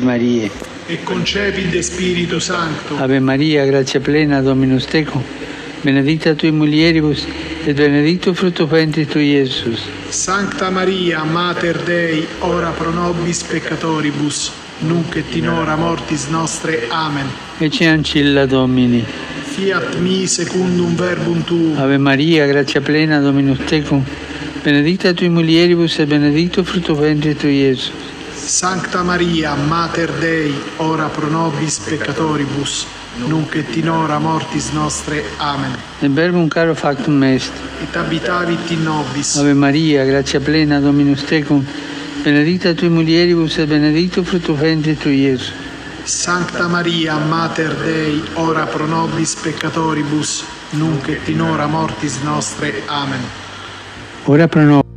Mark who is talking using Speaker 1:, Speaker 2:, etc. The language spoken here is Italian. Speaker 1: Maria.
Speaker 2: e concepi de Spirito Santo.
Speaker 1: Ave Maria, grazia plena, Dominus tecum, benedicta tui mulieribus, et benedictus fructus ventris tui, Iesus.
Speaker 2: Santa Maria, Mater Dei, ora pro nobis peccatoribus, nunc et in hora mortis nostre. Amen.
Speaker 1: Ecce ancilla Domini.
Speaker 2: Fiat mi secundum verbum tuum.
Speaker 1: Ave Maria, grazia plena, Dominus tecum, benedicta tui mulieribus, et benedictus fructus ventris tui, Iesus.
Speaker 2: Santa Maria, Mater Dei, ora pro nobis peccatoribus, nunc et in hora mortis nostre. Amen.
Speaker 1: Nel verbum caro factum est.
Speaker 2: Et abitavit in nobis.
Speaker 1: Ave Maria, grazia plena, Dominus tecum, benedicta tui mulieribus, et benedictus fructus ventris tui, Iesus.
Speaker 2: Santa Maria, Mater Dei, ora pro nobis peccatoribus, nunc et in hora mortis nostre. Amen.
Speaker 1: Ora pro nobis